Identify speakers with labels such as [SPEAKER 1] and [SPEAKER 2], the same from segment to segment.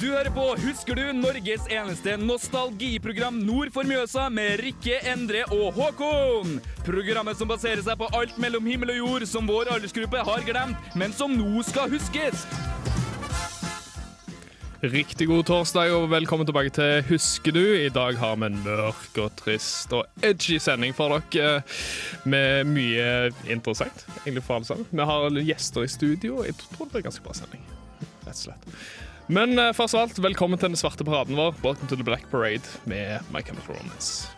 [SPEAKER 1] Du hører på Husker du? Norges eneste nostalgiprogram nord for Mjøsa med Rikke, Endre og Håkon. Programmet som baserer seg på alt mellom himmel og jord som vår aldersgruppe har glemt, men som nå skal huskes.
[SPEAKER 2] Riktig god torsdag og velkommen tilbake til Husker du. I dag har vi en mørk og trist og edgy sending for dere eh, med mye interessant. egentlig for alle sammen. Vi har gjester i studio. og Jeg tror det blir en ganske bra sending. rett og slett. Men eh, først av alt, velkommen til den svarte paraden vår. Welcome to the Black Parade med My Chemical Romance.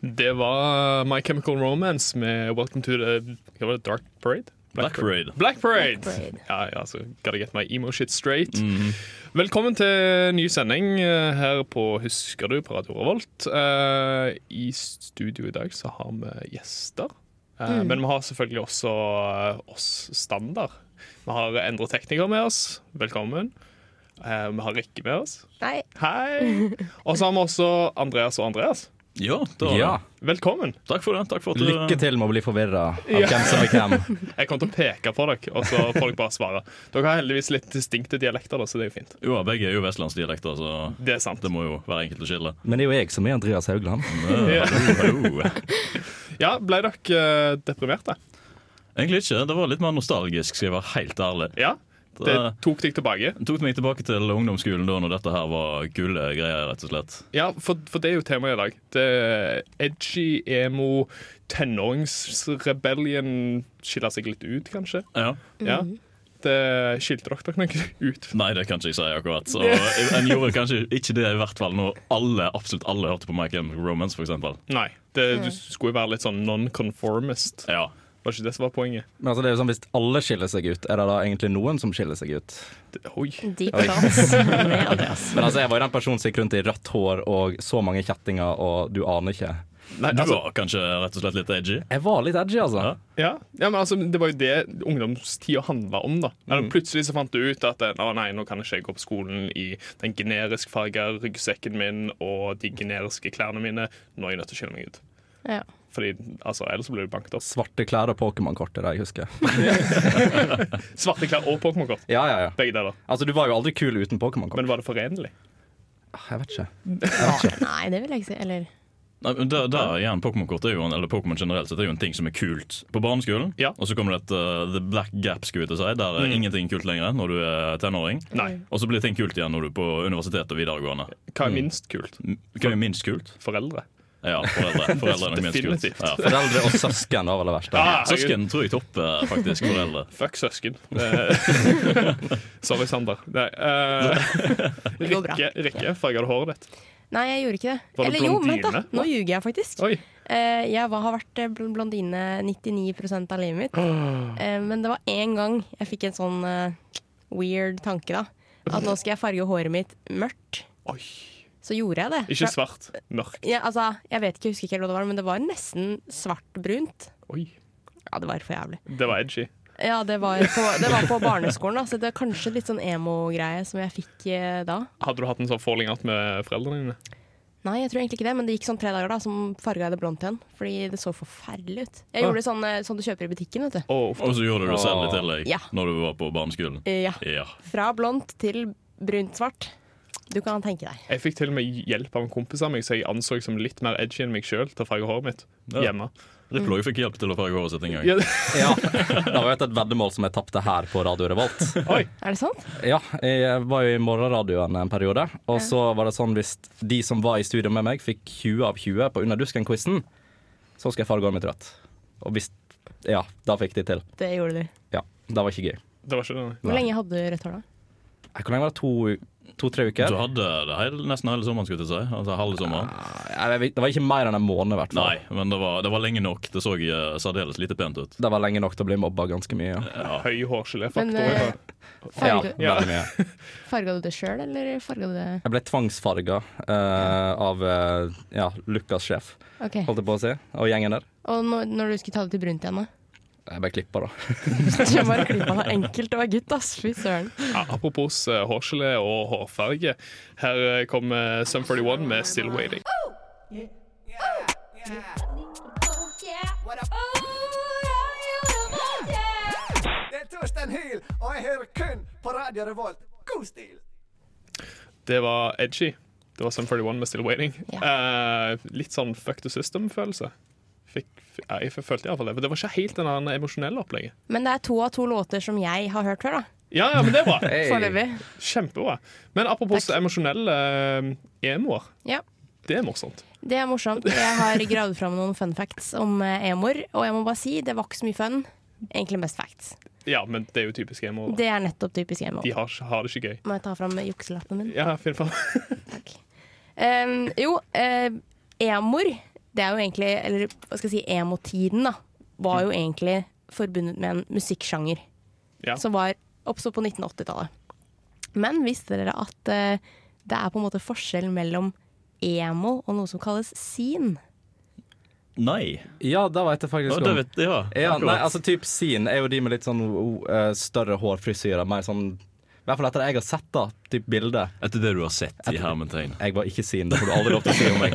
[SPEAKER 2] Det var My Chemical Romance med Welcome to the hva var det, Dark Parade?
[SPEAKER 3] Black Parade.
[SPEAKER 2] Black Parade!
[SPEAKER 4] Black Parade.
[SPEAKER 2] Ja, ja, så gotta get my emo shit straight.
[SPEAKER 3] Mhm.
[SPEAKER 2] Velkommen til ny sending eh, her på Husker du på Radio Revolt. Eh, I studio i dag så har vi gjester. Eh,
[SPEAKER 4] Mm.
[SPEAKER 2] Men vi har selvfølgelig også eh, oss standard. Vi har Endre Tekniker med oss. Velkommen. Eh, vi har Rikke med oss.
[SPEAKER 4] Nei,
[SPEAKER 2] Hei! Og så har vi også Andreas og Andreas.
[SPEAKER 3] Ja, da,
[SPEAKER 5] Ja.
[SPEAKER 2] Velkommen.
[SPEAKER 3] takk for det. Takk for at du-
[SPEAKER 5] Lykke til med å bli forvirra av hvem som er hvem.
[SPEAKER 2] Jeg kommer til å peke på dere, og så får dere bare svare. Dere har heldigvis litt distinkte dialekter, da, så det er jo fint.
[SPEAKER 3] Jo, begge er jo vestlandsdialekter, så
[SPEAKER 2] Det er sant.
[SPEAKER 3] det må jo være enkelt å skille.
[SPEAKER 5] Men det er jo jeg som er Andreas Haugland.
[SPEAKER 2] Ja.
[SPEAKER 3] Hallo.
[SPEAKER 2] Ja, ble dere eh, deprimerte?
[SPEAKER 3] Egentlig ikke. Det var litt mer nostalgisk, skal jeg være helt ærlig.
[SPEAKER 2] Ja. Det
[SPEAKER 3] Det
[SPEAKER 2] tok deg tilbake?
[SPEAKER 3] tok meg tilbake til ungdomsskolen da når dette her var kule greier, rett og slett.
[SPEAKER 2] Ja, for, for det er jo temaet i dag. Det er edgy, emo, tenåringsrebellion skiller seg litt ut, kanskje.
[SPEAKER 3] Ja.
[SPEAKER 2] Ja. Det skilte dere dere noe ut?
[SPEAKER 3] Nei, det kan ikke jeg si akkurat. Så en gjorde kanskje ikke det, i hvert fall når alle, absolutt alle hørte på My Chemical Romance, for eksempel.
[SPEAKER 2] Nei. Det, du skulle jo være litt sånn non-conformist.
[SPEAKER 3] Ja.
[SPEAKER 2] Var ikke det som var poenget?
[SPEAKER 5] Men altså, det er jo sånn, Hvis alle skiller seg ut, er det da egentlig noen som skiller seg ut?
[SPEAKER 2] Det, oi.
[SPEAKER 4] deep thoughts med Andreas.
[SPEAKER 5] Men altså, Jeg var jo den personen som gikk rundt i rødt hår og så mange kjettinger, og du aner ikke.
[SPEAKER 2] Nei,
[SPEAKER 3] Du
[SPEAKER 2] altså,
[SPEAKER 3] var kanskje rett og slett litt edgy?
[SPEAKER 5] Jeg var litt edgy, altså.
[SPEAKER 3] Ja.
[SPEAKER 2] ja. ja, men altså, det var jo det ungdomstida handla om, da. Eller,
[SPEAKER 4] Mm.
[SPEAKER 2] Plutselig så fant du ut at eh, å nei, nå kan ikke jeg gå på skolen i den generiskfarga ryggsekken min og de generiske klærne mine. Nå er jeg nødt til å skille meg ut.
[SPEAKER 4] Ja.
[SPEAKER 2] Fordi, altså, Ellers så blir du banket opp.
[SPEAKER 5] Svarte klær og Pokémon-kort er det jeg husker.
[SPEAKER 2] Svarte klær og Pokémon-kort.
[SPEAKER 5] Ja, ja, ja.
[SPEAKER 2] Begge deler.
[SPEAKER 5] Altså, Du var jo aldri kul uten Pokémon-kort. Ah,
[SPEAKER 2] Men var det forenlig?
[SPEAKER 5] Jeg vet ikke.
[SPEAKER 4] Nei, det vil jeg ikke si. Eller
[SPEAKER 3] Nei, men der, der igjen, Pokémon-kort er jo en, eller Pokémon generelt sett er jo en ting som er kult på barneskolen.
[SPEAKER 2] Ja. Mm.
[SPEAKER 3] Og så kommer det et uh, the black gap, skulle jeg til å si, der er ingenting kult lenger når du er tenåring.
[SPEAKER 2] Nei.
[SPEAKER 3] Og så blir ting kult igjen når du er på universitet og videregående.
[SPEAKER 4] Mm.
[SPEAKER 2] Hva er minst kult?
[SPEAKER 3] M- Hva er minst kult?
[SPEAKER 2] Foreldre.
[SPEAKER 3] Ja, foreldre. Foreldre er nok minst kult.
[SPEAKER 2] Definitivt.
[SPEAKER 3] Ja.
[SPEAKER 5] Foreldre og søsken var vel det verste.
[SPEAKER 2] Ah, herregud.
[SPEAKER 3] Søsken tror jeg topper faktisk foreldre.
[SPEAKER 2] Fuck søsken. Eh, Sorry, Sander. Nei, eh,
[SPEAKER 4] det går bra.
[SPEAKER 2] Rikke, Rikke farga du håret ditt?
[SPEAKER 4] Nei, jeg gjorde ikke det.
[SPEAKER 2] Var du
[SPEAKER 4] Eller jo, vent da,
[SPEAKER 2] blondine?
[SPEAKER 4] nå ljuger jeg faktisk.
[SPEAKER 2] Oi.
[SPEAKER 4] Eh, jeg var, har vært eh, bl- blondine 99 av livet mitt. Eh, men det var én gang jeg fikk en sånn eh, weird tanke, da. At nå skal jeg farge håret mitt mørkt.
[SPEAKER 2] Oi.
[SPEAKER 4] Så gjorde jeg det.
[SPEAKER 2] Ikke
[SPEAKER 4] For-
[SPEAKER 2] svart. Mørk.
[SPEAKER 4] Ja, altså, jeg vet ikke, jeg husker ikke helt hva det var, men det var nesten svart-brunt.
[SPEAKER 2] Oi.
[SPEAKER 4] Ja, det var for jævlig.
[SPEAKER 2] Det var edgy.
[SPEAKER 4] Ja, det var på, det var på barneskolen, da, så det er kanskje litt sånn emo-greie som jeg fikk eh, da.
[SPEAKER 2] Hadde du hatt en sånn falling out med foreldrene dine?
[SPEAKER 4] Nei, jeg tror egentlig ikke det, men det gikk sånn tre dager da som farga jeg det blondt igjen. Fordi det så forferdelig ut. Jeg gjorde det sånn, eh, sånn du kjøper i butikken, vet du.
[SPEAKER 2] Oh,
[SPEAKER 3] Og så gjorde du det selv i tillegg
[SPEAKER 4] Ja.
[SPEAKER 3] når du var på barneskolen.
[SPEAKER 4] Eh, Ja.
[SPEAKER 3] Ja.
[SPEAKER 4] Fra blondt til brunt-svart. Du kan tenke deg.
[SPEAKER 2] jeg fikk til og med hjelp av en kompis av meg, så jeg anså som litt mer edgy enn meg sjøl til å farge håret mitt
[SPEAKER 3] Ja.
[SPEAKER 2] hjemme.
[SPEAKER 3] Ripplog fikk hjelp til å farge håret sitt en gang.
[SPEAKER 2] Mm. Ja.
[SPEAKER 5] Ja, Det var jo et et veddemål som jeg tapte her på Radio Revolt.
[SPEAKER 2] Oi.
[SPEAKER 4] Er det sant?
[SPEAKER 5] Ja, jeg var jo i morgenradioen en periode. Og så var det sånn hvis de som var i studio med meg, fikk 20 av 20 på Under dusken-quizen, så skal jeg farge håret mitt rødt. Og hvis Ja, da fikk de til.
[SPEAKER 4] Det gjorde du.
[SPEAKER 5] Ja, Det var ikke gøy.
[SPEAKER 2] Det var ikke det. nei.
[SPEAKER 4] Hvor
[SPEAKER 5] Nei.
[SPEAKER 4] lenge hadde du rødt hår da?
[SPEAKER 5] Hvor lenge var det? To- To-tre
[SPEAKER 3] Du
[SPEAKER 5] uker?
[SPEAKER 3] hadde det hele, nesten hele sommeren, skulle jeg til å si. Altså halve
[SPEAKER 5] Ah.
[SPEAKER 3] sommeren.
[SPEAKER 5] Nei, jeg vet- Det var ikke mer enn en måned, i hvert fall.
[SPEAKER 3] Nei, men det var, det var lenge nok. Det så eh, særdeles lite pent ut.
[SPEAKER 5] Det var lenge nok til å bli mobba ganske mye. Ja,
[SPEAKER 2] Høy
[SPEAKER 4] Men,
[SPEAKER 2] hårgeléfaktor.
[SPEAKER 4] eh,
[SPEAKER 2] ja.
[SPEAKER 4] Farga,
[SPEAKER 5] ja veldig mye.
[SPEAKER 4] farga du det sjøl, eller farga du det
[SPEAKER 5] Jeg ble tvangsfarga eh, av eh, ja, Lukas' sjef,
[SPEAKER 4] OK.
[SPEAKER 5] holdt jeg på å si, og gjengen der.
[SPEAKER 4] Og når, når du skulle ta det til brunt igjen, da?
[SPEAKER 5] Jeg ble klippa, da.
[SPEAKER 4] Jeg bare klippa det enkelt å være gutt, ass. Fy søren.
[SPEAKER 2] Ja, apropos eh, hårgelé og hårfarge. Her eh, kommer Sum 41 med 'Still Waiting'.
[SPEAKER 6] Oh, Yeah. What up? Oh, yeah, you know what? på Radio Revolt. God stil!
[SPEAKER 2] Det var edgy. Det var Sum 41 med Still Waiting. Eh, litt sånn fuck the system-følelse. Fikk, f- ja, jeg følte iallfall det. Men det var ikke helt den der emosjonelle opplegget.
[SPEAKER 4] Men det er to av to låter som jeg har hørt før, da.
[SPEAKER 2] Ja, ja, men det er bra.
[SPEAKER 5] Hey.
[SPEAKER 4] Foreløpig.
[SPEAKER 2] Kjempebra. Men apropos emosjonelle eh, emoer.
[SPEAKER 4] Ja.
[SPEAKER 2] Det er morsomt.
[SPEAKER 4] Det er morsomt. Jeg har gravd fram noen fun facts om eh, emoer, og jeg må bare si det var ikke så mye fun. Egentlig mest facts.
[SPEAKER 2] Ja, men det er jo typisk emoer. da.
[SPEAKER 4] Det er nettopp typisk emo.
[SPEAKER 2] De har, har det ikke gøy.
[SPEAKER 4] Må jeg ta fram jukselappen min?
[SPEAKER 2] Ja, finn på.
[SPEAKER 4] Em, jo, eh, emoer, det er jo egentlig Eller hva skal jeg si, emotiden, da, var jo egentlig forbundet med en musikksjanger
[SPEAKER 2] Ja.
[SPEAKER 4] som var oppstod på 1980-tallet. Men visste dere at eh, det er på en måte forskjell mellom emo og noe som kalles scene?
[SPEAKER 3] Nei.
[SPEAKER 5] Ja, det vet jeg
[SPEAKER 3] Ja,
[SPEAKER 5] faktisk
[SPEAKER 3] det
[SPEAKER 5] om.
[SPEAKER 3] vet ja,
[SPEAKER 5] Ja, nei,
[SPEAKER 3] akkurat.
[SPEAKER 5] altså typ Sin er jo de med litt sånn o- eh, større hårfrisyrer. Mer sånn I hvert fall etter det jeg har sett, da. Typ bildet.
[SPEAKER 3] Etter det du har sett i hermetegn.
[SPEAKER 5] Jeg var ikke sin, det får du aldri lov til å si om meg.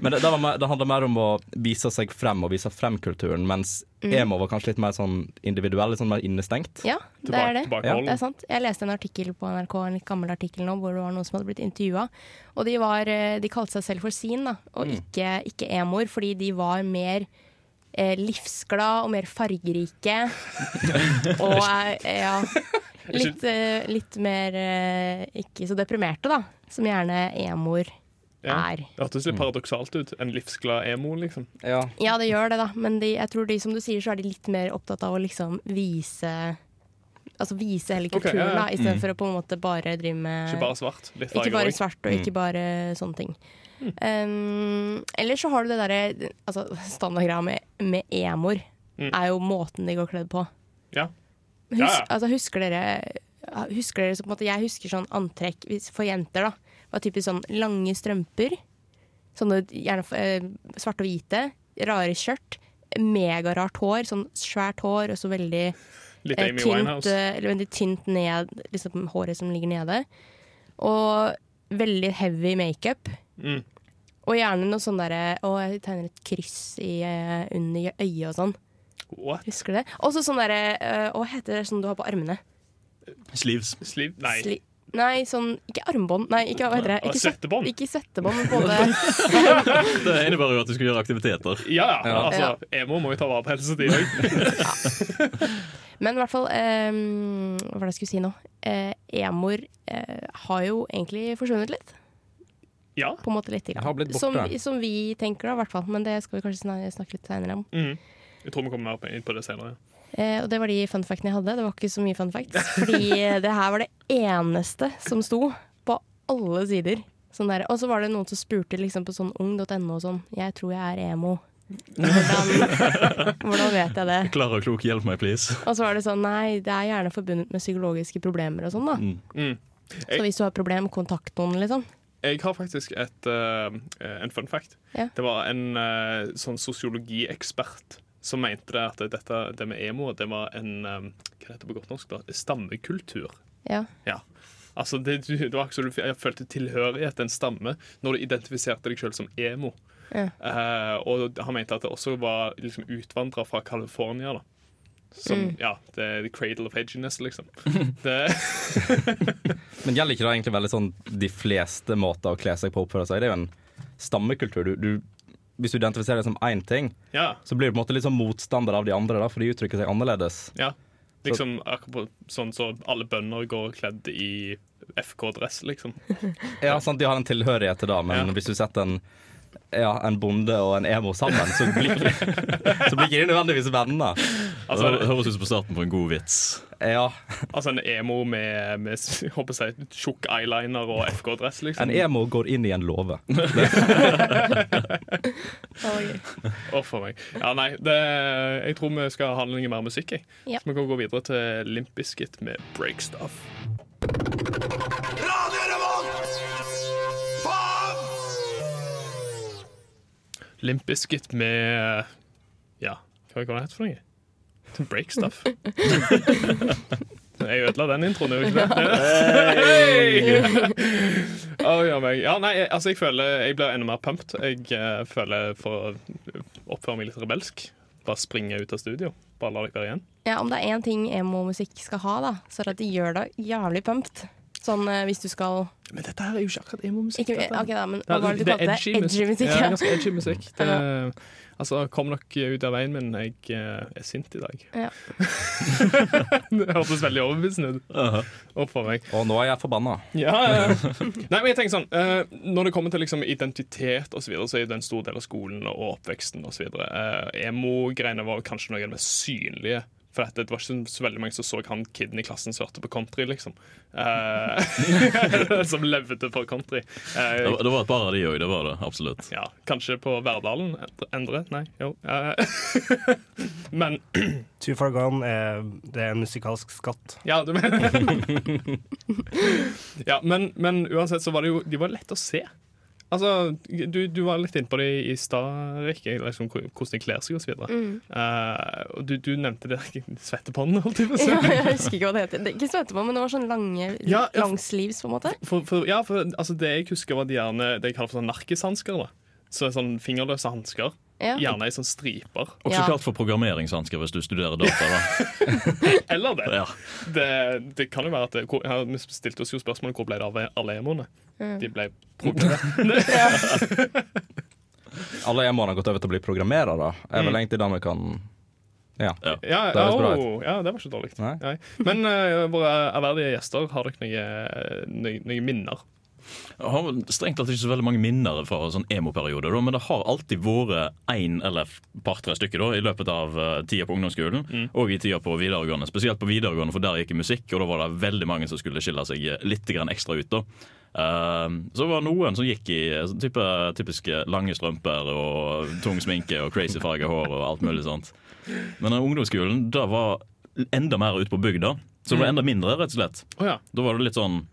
[SPEAKER 5] Men det, det, var mer, det handla mer om å vise seg frem og vise frem kulturen, mens emo var kanskje litt mer sånn individuell, litt sånn mer innestengt.
[SPEAKER 4] Ja, det
[SPEAKER 2] Tilbake-
[SPEAKER 4] er det.
[SPEAKER 2] tilbakeholden.
[SPEAKER 4] Det er sant. Jeg leste en artikkel på NRK, en litt gammel artikkel nå, hvor det var noen som hadde blitt intervjua. Og de, var, eh, de kalte seg selv for Scene, da, og
[SPEAKER 2] Mm.
[SPEAKER 4] ikke, ikke emoer, fordi de var mer eh, livsglad og mer fargerike. og eh, ja Litt, eh, litt mer eh, ikke så deprimerte, da. Som gjerne emoer
[SPEAKER 2] Ja.
[SPEAKER 4] er.
[SPEAKER 2] Det hørtes litt paradoksalt ut. En livsglad emo, liksom.
[SPEAKER 5] Ja.
[SPEAKER 4] Ja, det gjør det, da. Men de, jeg tror de, som du sier, så er de litt mer opptatt av å liksom vise Altså vise hele
[SPEAKER 2] Ok,
[SPEAKER 4] kulturen,
[SPEAKER 2] ja, Mm. ja.
[SPEAKER 4] da, istedenfor å på en måte bare drive med
[SPEAKER 2] Ikke bare svart. Mm. Litt
[SPEAKER 4] ikke
[SPEAKER 2] farger
[SPEAKER 4] bare
[SPEAKER 2] òg.
[SPEAKER 4] svart, og ikke bare sånne ting.
[SPEAKER 2] Mm.
[SPEAKER 4] Um, Eller så har du det derre altså, Standardgreia med, med emoer er jo måten de går kledd på.
[SPEAKER 2] Ja.
[SPEAKER 4] Husk,
[SPEAKER 2] Mm. Ja, ja.
[SPEAKER 4] Altså, husker dere Husker dere så på en måte Jeg husker sånn antrekk hvis- for jenter, da. Var typisk sånn lange strømper. Sånne gjerne eh, svarte og hvite. Rare skjørt. Megarart hår. Sånn svært hår, og så veldig
[SPEAKER 2] Litt
[SPEAKER 4] eh,
[SPEAKER 2] Amy
[SPEAKER 4] tynt,
[SPEAKER 2] Winehouse.
[SPEAKER 4] eh, eller veldig tynt ned, liksom håret som ligger nede. Og veldig heavy makeup.
[SPEAKER 2] Mm.
[SPEAKER 4] Og gjerne noe sånn derre Å, jeg tegner et kryss i, eh, under øyet og sånn.
[SPEAKER 2] What?
[SPEAKER 4] Husker du det? Og så sånn derre eh, Hva heter det sånn du har på armene?
[SPEAKER 3] Sleeves.
[SPEAKER 2] Sliv? Nei.
[SPEAKER 4] Sli- Nei, sånn Ikke armbånd. Nei, ikke, hva heter det?
[SPEAKER 2] Ah,
[SPEAKER 4] Ikke, svett-
[SPEAKER 2] svettebånd.
[SPEAKER 4] ikke svettebånd, men på en måte
[SPEAKER 3] Det innebærer jo at du skulle gjøre aktiviteter.
[SPEAKER 2] Ja, ja. Altså, emo må jo ta vare på helsa di òg.
[SPEAKER 4] Men i hvert fall eh, Hva var det jeg skulle si nå? Eh, Emoer eh, har jo egentlig forsvunnet litt.
[SPEAKER 2] Ja.
[SPEAKER 4] på en måte litt.
[SPEAKER 5] Jeg har blitt borte.
[SPEAKER 4] Som, som vi tenker, da, i hvert fall. Men det skal vi kanskje snak- snakke litt senere om.
[SPEAKER 2] Mm. Jeg tror vi kommer mer på- inn på det senere.
[SPEAKER 4] Eh, og det var de fun factene jeg hadde. Det var ikke så mye fun facts. Fordi det her var det eneste som sto på alle sider. Sånn der. Og så var det noen som spurte liksom, på sånn ung.no og sånn Jeg tror jeg er emo. Hvordan, hvordan vet jeg det?
[SPEAKER 3] Klara og klok, hjelp meg, please.
[SPEAKER 4] Og så var det sånn Nei, det er gjerne forbundet med psykologiske problemer og sånn, da.
[SPEAKER 2] Mm.
[SPEAKER 4] Så hvis du har et problem, kontakt noen, liksom.
[SPEAKER 2] Jeg har faktisk et, eh, en fun fact.
[SPEAKER 4] Ja.
[SPEAKER 2] Det var en eh, sånn sosiologiekspert som mente det at dette, det med emo det var en eh, hva heter det på godt norsk da? stammekultur.
[SPEAKER 4] Ja.
[SPEAKER 2] Ja. Altså, det, du- det var akkurat som du f- jeg følte tilhørighet til en stamme når du identifiserte deg selv som emo.
[SPEAKER 4] Ja.
[SPEAKER 2] Eh, og han mente at det også var liksom, utvandrere fra California. da. Som,
[SPEAKER 4] Mm.
[SPEAKER 2] ja, det er the cradle of edginess, liksom. Det,
[SPEAKER 5] Men gjelder ikke det egentlig veldig sånn de fleste måter å kle seg på og oppføre seg? Det er jo en stammekultur. Du, du, hvis du identifiserer deg som én ting,
[SPEAKER 2] ja,
[SPEAKER 5] så blir du på en måte litt sånn motstander av de andre, da, for de uttrykker seg annerledes.
[SPEAKER 2] ja. Liksom akkurat sånn så alle bønder går kledd i FK-dress, liksom.
[SPEAKER 5] Ja, sant, De har en tilhørighet til det, men
[SPEAKER 2] Ja.
[SPEAKER 5] hvis du setter en, ja, en bonde og en emo sammen, så blir, så blir ikke de nødvendigvis venner.
[SPEAKER 2] Altså,
[SPEAKER 3] Altså, det høres ut som starten på en god vits.
[SPEAKER 5] Ja,
[SPEAKER 2] altså en emo med, med jeg håper jeg, å si, tjukk eyeliner og FK-dress,
[SPEAKER 5] En
[SPEAKER 2] liksom.
[SPEAKER 5] emo går inn i en låve.
[SPEAKER 2] Å, for meg. Ja, nei, det, jeg tror vi skal ha noe mer musikk. Jeg.
[SPEAKER 4] Ja.
[SPEAKER 2] Så vi kan gå videre til Limp Bizkit med Break Stuff.
[SPEAKER 6] Radio Revolt! Faen!
[SPEAKER 2] Limp Bizkit med Ja, hva var det hett for noe? Break Stuff. jeg ødela den introen, gjorde jeg ikke det? Å, ja, meg. ja, nei, jeg- altså, jeg føler jeg blir enda mer pumped. Jeg eh, føler for å oppføre meg litt rebelsk. Bare springe ut av studio. Bare la deg være igjen.
[SPEAKER 4] Ja, om det er én ting emo-musikk skal ha, da, så er det at det gjør deg jævlig pumped. Sånn eh, hvis du skal
[SPEAKER 2] Men dette her er jo ikke akkurat emo-musikk.
[SPEAKER 4] ikke,
[SPEAKER 2] dette her.
[SPEAKER 4] Ok, da, men
[SPEAKER 2] Ja,
[SPEAKER 4] hva var det du kalte det? Edgy musikk.
[SPEAKER 2] Ja,
[SPEAKER 4] Ja,
[SPEAKER 2] ganske edgy musikk. Det, altså, kom nok ut av veien min. Jeg eh, er sint i dag.
[SPEAKER 4] Ja.
[SPEAKER 2] det hørtes veldig overbevisende ut. Opp for meg.
[SPEAKER 5] Og nå er jeg forbanna.
[SPEAKER 2] Ja, ja. Nei, men jeg tenker sånn eh, Når det kommer til liksom, identitet og så, videre, så er det en stor del av skolen og oppveksten osv. Uh, Emo-greiene var kanskje noe av det mest synlige. For at det var ikke så veldig mange som så han kiden i klassen som hørte på country, liksom. Eh, som levde for country. Eh,
[SPEAKER 3] Det var, det var et par av de òg, det var det. Absolutt.
[SPEAKER 2] ja, kanskje på Verdalen? Endre- Endre? Nei, jo. Eh, Men
[SPEAKER 7] Two Far Gone er, det er en musikalsk skatt.
[SPEAKER 2] Ja, du mener Ja, men, men uansett så var det jo De var lett å se. Altså, du, du var litt inne på det i stad, Rikke, liksom, hvor- hvordan de kler seg og så videre.
[SPEAKER 4] Mm.
[SPEAKER 2] Eh, og du, du nevnte det svettebåndet, holdt jeg på å si.
[SPEAKER 4] Ja, jeg husker ikke hva det heter. Det er ikke svette på, men det var sånn lange
[SPEAKER 2] Ja, ja.
[SPEAKER 4] langsleeves, på en måte.
[SPEAKER 2] For, for, ja, for altså, det jeg husker, var de gjerne det jeg kaller for sånn narkishansker. da. Så sånn Fingerløse hansker.
[SPEAKER 4] Ja.
[SPEAKER 2] Gjerne i sånn striper.
[SPEAKER 3] Også
[SPEAKER 4] Ja.
[SPEAKER 3] klart for programmeringshansker hvis du studerer data. da
[SPEAKER 2] Eller det.
[SPEAKER 3] ja.
[SPEAKER 2] det, det kan jo være at det, hvor, ja, Vi stilte oss jo spørsmålet hvor ble det av alle emoene. De ble programmert.
[SPEAKER 5] Alle emoene har gått over til å bli programmerere. Er
[SPEAKER 2] Mm.
[SPEAKER 5] vel egentlig den vi kan Ja.
[SPEAKER 2] ja,
[SPEAKER 5] Det
[SPEAKER 2] ja,
[SPEAKER 5] høres bra ut.
[SPEAKER 2] oh, ja, det var ikke dårlig.
[SPEAKER 5] Nei.
[SPEAKER 2] Nei. Men eh, våre ærverdige gjester, har dere noen noe, noe minner?
[SPEAKER 3] Jeg har vel strengt tatt ikke så veldig mange minner fra sånn emo-periode, da, men det har alltid vært én eller f- par-tre stykker da, i løpet av eh, tida på ungdomsskolen og i tida på videregående. Spesielt på videregående, for der gikk jeg musikk, og da var det veldig mange som skulle skille seg eh, litt grann ekstra ut. da. Eh, så var det noen som gikk i eh, sånn type, typiske lange strømper og tung sminke og crazy farga hår og alt mulig sånt. Men den ungdomsskolen da var enda mer ute på bygda, så det var enda mindre, rett og slett.
[SPEAKER 2] Å ja.
[SPEAKER 3] Da var det litt sånn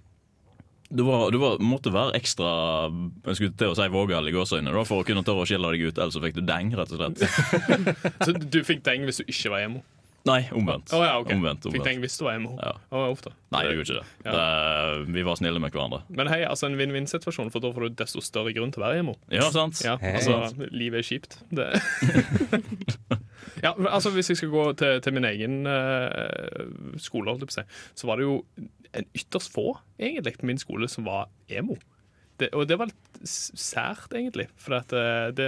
[SPEAKER 3] du, var, du var, måtte være ekstra Jeg skulle til å si vågal i gåseøynene da, for å kunne tørre å skille deg ut, ellers så fikk du deng, rett og slett.
[SPEAKER 2] Så du fikk deng hvis du ikke var emo?
[SPEAKER 3] Nei, omvendt.
[SPEAKER 2] Å ja, ok.
[SPEAKER 3] omvendt,
[SPEAKER 2] Fikk
[SPEAKER 3] omvendt.
[SPEAKER 2] deng hvis du var emo?
[SPEAKER 3] Ja.
[SPEAKER 2] Å, uff da.
[SPEAKER 3] Nei, jeg gjorde ikke det. det. Vi var snille med hverandre.
[SPEAKER 2] Men hei, altså en vinn-vinn-situasjon, for da får du desto større grunn til å være emo.
[SPEAKER 3] Ja, sant?
[SPEAKER 2] Ja, altså, livet er kjipt. Det. ja, men altså, hvis jeg skal gå til, til min egen eh, skole, holdt jeg på å si, så var det jo en ytterst få egentlig på min skole som var emo. Det, og det var litt s- sært, egentlig. For at eh, det,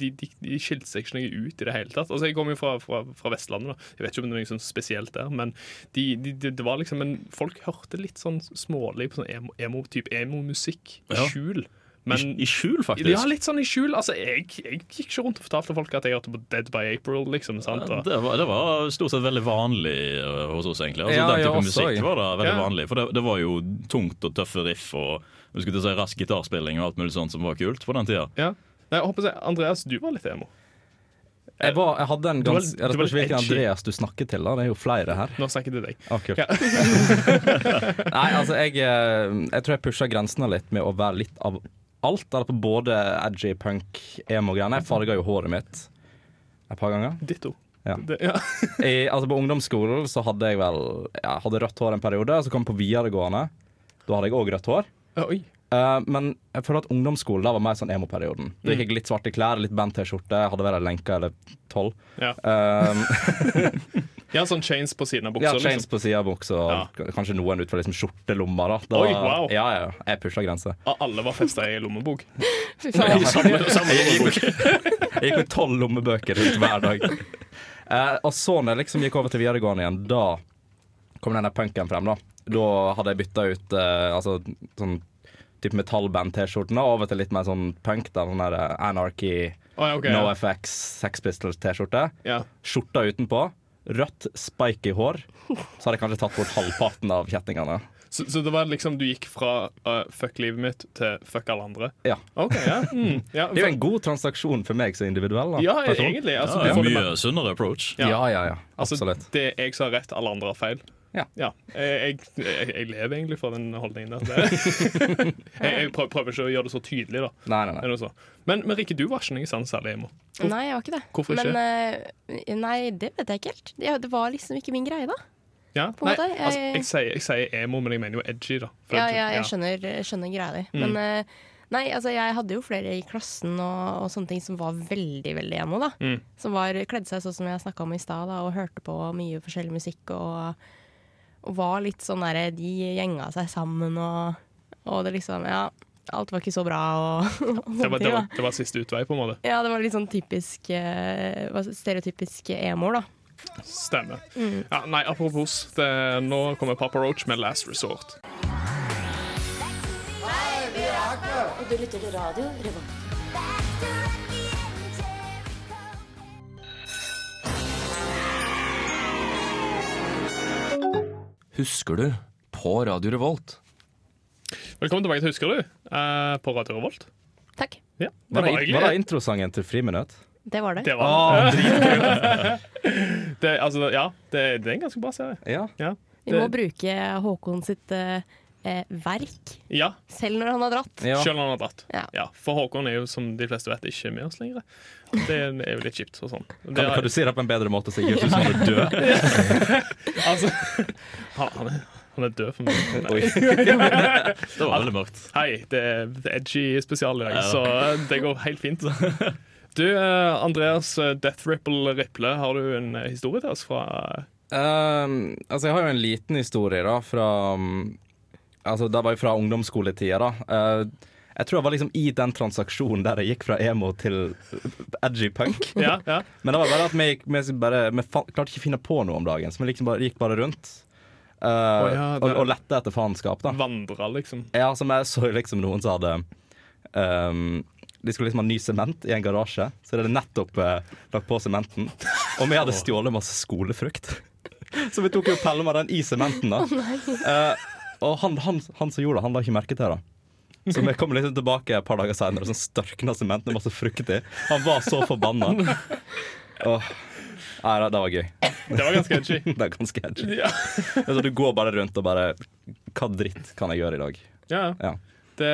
[SPEAKER 2] de, de, de skilte seg ikke noe ut i det hele tatt. Altså, Jeg kommer jo fra, fra, fra Vestlandet, da. jeg vet ikke om det er noe sånn spesielt der. Men de, de, de, det var liksom en, folk hørte litt sånn smålig på sånn emo, emo, typ emo-musikk. i
[SPEAKER 3] Ja.
[SPEAKER 2] Skjul.
[SPEAKER 3] I, I skjul, faktisk.
[SPEAKER 2] Ja, litt sånn i skjul. Altså, jeg, jeg gikk ikke rundt og fortalte folk at jeg hørte på Dead by April, liksom. sant?
[SPEAKER 3] Ja,
[SPEAKER 2] Og,
[SPEAKER 3] Det var, det var stort sett veldig vanlig eh, hos oss, egentlig. Altså,
[SPEAKER 5] Ja,
[SPEAKER 3] den
[SPEAKER 5] ja,
[SPEAKER 3] type
[SPEAKER 5] også,
[SPEAKER 3] musikk
[SPEAKER 5] jeg.
[SPEAKER 3] var da veldig
[SPEAKER 2] Ja.
[SPEAKER 3] vanlig. For det, det var jo tungt og tøffe riff og jeg skulle til å si, rask gitarspilling og alt mulig sånt som var kult på den tida.
[SPEAKER 2] ja. Nei, jeg håper å si, Andreas, du var litt emo.
[SPEAKER 5] Jeg, var, jeg hadde en
[SPEAKER 2] var-
[SPEAKER 5] ganske Jeg
[SPEAKER 2] du
[SPEAKER 5] vet
[SPEAKER 2] var
[SPEAKER 5] ikke hvilken
[SPEAKER 2] edgy.
[SPEAKER 5] Andreas du snakker til, da. Det er jo flere her.
[SPEAKER 2] Nå snakker jeg til deg.
[SPEAKER 5] Ah, kult. Nei, altså, jeg, eh, jeg tror jeg pusha grensene litt med å være litt av alt. Der på både edgy punk, emo-greiene. Jeg farga jo håret mitt et par ganger.
[SPEAKER 2] Ditto.
[SPEAKER 5] Ja.
[SPEAKER 2] Det, ja.
[SPEAKER 5] I, altså På ungdomsskolen så hadde jeg vel ja, hadde rødt hår en periode. Og så kom jeg på videregående. Da hadde jeg òg rødt hår.
[SPEAKER 2] Oi.
[SPEAKER 5] Eh, men jeg føler at ungdomsskolen da var mer sånn emo-perioden. Da gikk jeg litt svarte klær, litt band-T-skjorte, hadde vært lenka eller tolv.
[SPEAKER 2] Ja.
[SPEAKER 5] Um,
[SPEAKER 2] ja, sånn chains på siden av
[SPEAKER 5] ja,
[SPEAKER 2] buksa.
[SPEAKER 5] chains
[SPEAKER 2] liksom.
[SPEAKER 5] på sida av buksa,
[SPEAKER 2] Ja.
[SPEAKER 5] og k- kanskje noen ut fra liksom skjortelomma. da Det
[SPEAKER 2] Oi,
[SPEAKER 5] var-
[SPEAKER 2] wow.
[SPEAKER 5] Ja, ja, ja. Jeg pusha grenser.
[SPEAKER 2] Ah, Alle var festa i lommebok.
[SPEAKER 4] Fy faen.
[SPEAKER 5] Jeg gikk med tolv lommebøker rundt hver dag. Eh, og så når jeg liksom gikk over til videregående igjen, da kom denne punken frem. Da Da hadde jeg bytta ut eh, altså, sånn type metallband-T-skjorten og over til litt mer sånn punk. Da, den der eh, Anarchy,
[SPEAKER 2] Å, ja, ok,
[SPEAKER 5] No
[SPEAKER 2] ja.
[SPEAKER 5] FX, Sex Pistols-T-skjorte.
[SPEAKER 2] Ja.
[SPEAKER 5] Skjorta utenpå. Rødt, spiky hår. Så hadde jeg kanskje tatt bort halvparten av kjettingene.
[SPEAKER 2] Så, så det var liksom du gikk fra eh, fuck livet mitt til fuck alle andre?
[SPEAKER 5] Ja.
[SPEAKER 2] OK, ja. Mm, ja,
[SPEAKER 5] Det er jo en god transaksjon for meg som individuell. Da,
[SPEAKER 2] ja
[SPEAKER 5] person.
[SPEAKER 2] egentlig.
[SPEAKER 3] Ja,
[SPEAKER 2] Altså,
[SPEAKER 3] det
[SPEAKER 2] du
[SPEAKER 3] er
[SPEAKER 2] får det
[SPEAKER 3] mye sunnere approach.
[SPEAKER 5] Ja, ja, ja.
[SPEAKER 2] Altså,
[SPEAKER 5] Absolutt.
[SPEAKER 2] Det er jeg som har rett, alle andre har feil.
[SPEAKER 5] Ja.
[SPEAKER 2] Jeg, jeg, jeg, jeg lever egentlig for den holdningen der. Det. jeg jeg prøver, prøver ikke å gjøre det så tydelig, da.
[SPEAKER 5] Nei, nei,
[SPEAKER 2] Er
[SPEAKER 5] nei.
[SPEAKER 2] det noe så? Men, men Rikke, du var ikke noe sånn særlig emo.
[SPEAKER 4] Nei, jeg var ikke det.
[SPEAKER 2] Hvorfor ikke?
[SPEAKER 4] Men, eh, nei, det vet jeg ikke helt. Ja, det var liksom ikke min greie, da.
[SPEAKER 2] Ja?
[SPEAKER 4] På en måte, jeg-
[SPEAKER 2] altså, jeg, sier, jeg sier emo, men jeg mener jo edgy, da. For
[SPEAKER 4] Ja,
[SPEAKER 2] at- Mm.
[SPEAKER 4] ja jeg skjønner, jeg skjønner greia di. Men eh, Nei, altså jeg hadde jo flere i klassen og, og sånne ting som var veldig veldig emo. da.
[SPEAKER 2] Mm.
[SPEAKER 4] Som var, kledde seg sånn som jeg snakka om i stad, da, og hørte på mye forskjellig musikk. Og, og var litt sånn derre De gjenga seg sammen og, og det liksom Ja, alt var ikke så bra og, og
[SPEAKER 2] Det
[SPEAKER 4] sånne
[SPEAKER 2] var, det,
[SPEAKER 4] ting. da.
[SPEAKER 2] var, det var siste utvei, på en måte.
[SPEAKER 4] Ja, det var litt sånn typisk eh, hva- stereotypisk emo, da.
[SPEAKER 2] Stemmer.
[SPEAKER 4] Mm.
[SPEAKER 2] Ja, nei, apropos, det, nå kommer Papa Roach med Last Resort.
[SPEAKER 8] Og du lytter til radio Revolt.
[SPEAKER 9] Husker du? På Radio Revolt.
[SPEAKER 2] Velkommen tilbake til Husker du? eh, på Radio Revolt.
[SPEAKER 4] Takk.
[SPEAKER 2] Ja, det
[SPEAKER 5] Var
[SPEAKER 2] var
[SPEAKER 5] det, var det Ah.
[SPEAKER 2] egentlig
[SPEAKER 5] introsangen til Friminutt?
[SPEAKER 4] Det var det.
[SPEAKER 2] det. Var, det, altså, ja, det, det er en ganske bra serie.
[SPEAKER 5] Ja.
[SPEAKER 2] Ja.
[SPEAKER 4] Vi må
[SPEAKER 2] Det-
[SPEAKER 4] bruke Håkon sitt eh, eh, verk,
[SPEAKER 2] ja,
[SPEAKER 4] selv når han har dratt.
[SPEAKER 5] ja.
[SPEAKER 2] selv om han har dratt.
[SPEAKER 4] Ja.
[SPEAKER 2] Ja, for Håkon er jo, som de fleste vet, ikke med oss lenger. Det er jo litt kjipt og sånn. Det
[SPEAKER 5] Kan,
[SPEAKER 2] er-
[SPEAKER 5] kan du si det på en bedre måte, så jeg ikke ut som du dør?
[SPEAKER 2] Altså, han, han er- han er død for meg.
[SPEAKER 5] Oi.
[SPEAKER 3] Det var veldig mørkt.
[SPEAKER 2] Hei, det er det er edgy spesial i dag, så det går helt fint. Du, eh, Andreas eh, Death Ripple Riple, har du en eh, historie til oss fra eh,
[SPEAKER 5] Ehm, altså, jeg har jo en liten historie, da, fra mm, Altså, det var jo fra ungdomsskoletida, da. Eh, jeg tror jeg var liksom i den transaksjonen der jeg gikk fra emo til edgy punk.
[SPEAKER 2] Ja, ja.
[SPEAKER 5] Men det var bare at vi, gikk- vi, bare, vi fa- klarte ikke å finne på noe om dagen, så vi liksom bare, gikk bare rundt. eh,
[SPEAKER 2] ja,
[SPEAKER 5] og,
[SPEAKER 2] det-
[SPEAKER 5] og lette etter faenskap, da.
[SPEAKER 2] Vandra, liksom.
[SPEAKER 5] Ja, som jeg så liksom noen som hadde ehm, De skulle liksom ha ny sement i en garasje, så de hadde nettopp eh, lagt på sementen. Og vi hadde stjålet masse skolefrukt. Så vi tok jo pelle med den i sementen. da Eh, Og han, han, han som gjorde det, han la ikke merke til det. Så vi kom liksom tilbake et par dager seinere og sånn størkna sementen med masse frukt i. Han var så forbanna. Åh. Nei, det, det var gøy.
[SPEAKER 2] Det var ganske edgy.
[SPEAKER 5] Det er ganske edgy.
[SPEAKER 2] Ja.
[SPEAKER 5] Altså, du går bare rundt og bare Hva dritt kan jeg gjøre i dag?
[SPEAKER 2] Ja,
[SPEAKER 5] Ja.
[SPEAKER 2] det,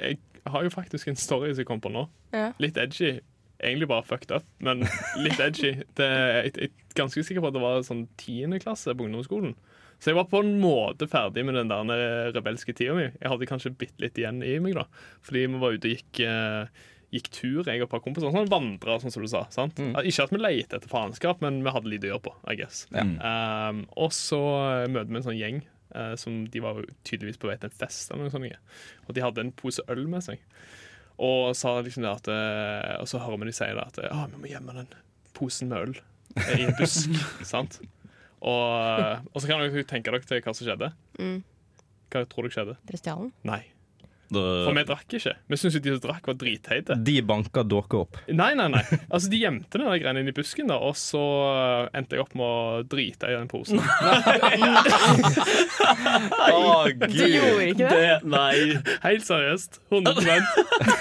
[SPEAKER 2] jeg har jo faktisk en story som jeg kom på nå.
[SPEAKER 4] Ja.
[SPEAKER 2] Litt edgy. Egentlig bare fucked up, men litt edgy. Det, jeg, jeg er ganske sikker på at det var sånn tiende klasse på ungdomsskolen. Så jeg var på en måte ferdig med den der rebelske tida mi. Jeg hadde kanskje bitte litt igjen i meg, da. Fordi vi var ute og gikk, eh, gikk tur, jeg og et par kompiser. Sånn vandra, sånn som du sa. sant? Ikke at vi leita etter faenskap, men vi hadde lite å gjøre på, I guess. Um, og så møter vi en sånn gjeng eh, som de var jo tydeligvis på vei til en fest eller noe sånt. Og de hadde en pose øl med seg. Og, sa liksom det at, eh, og så hører vi de si det at ah, vi må gjemme den posen med øl eh, i en busk. sant? Og, eh, og så kan dere tenke dere til hva som skjedde. Hva tror dere skjedde?
[SPEAKER 4] Dere stjal den.
[SPEAKER 2] Nei. For vi
[SPEAKER 3] Det,
[SPEAKER 2] drakk ikke. Vi syntes jo de som drakk, var dritteite.
[SPEAKER 5] De banka dere opp.
[SPEAKER 2] Nei, nei, nei. Altså, De gjemte den der greia inni busken, da, og så eh, endte jeg opp med å drite i den posen.
[SPEAKER 5] Å,
[SPEAKER 4] Du gjorde ikke det?
[SPEAKER 3] det, nei.
[SPEAKER 2] Helt seriøst. 100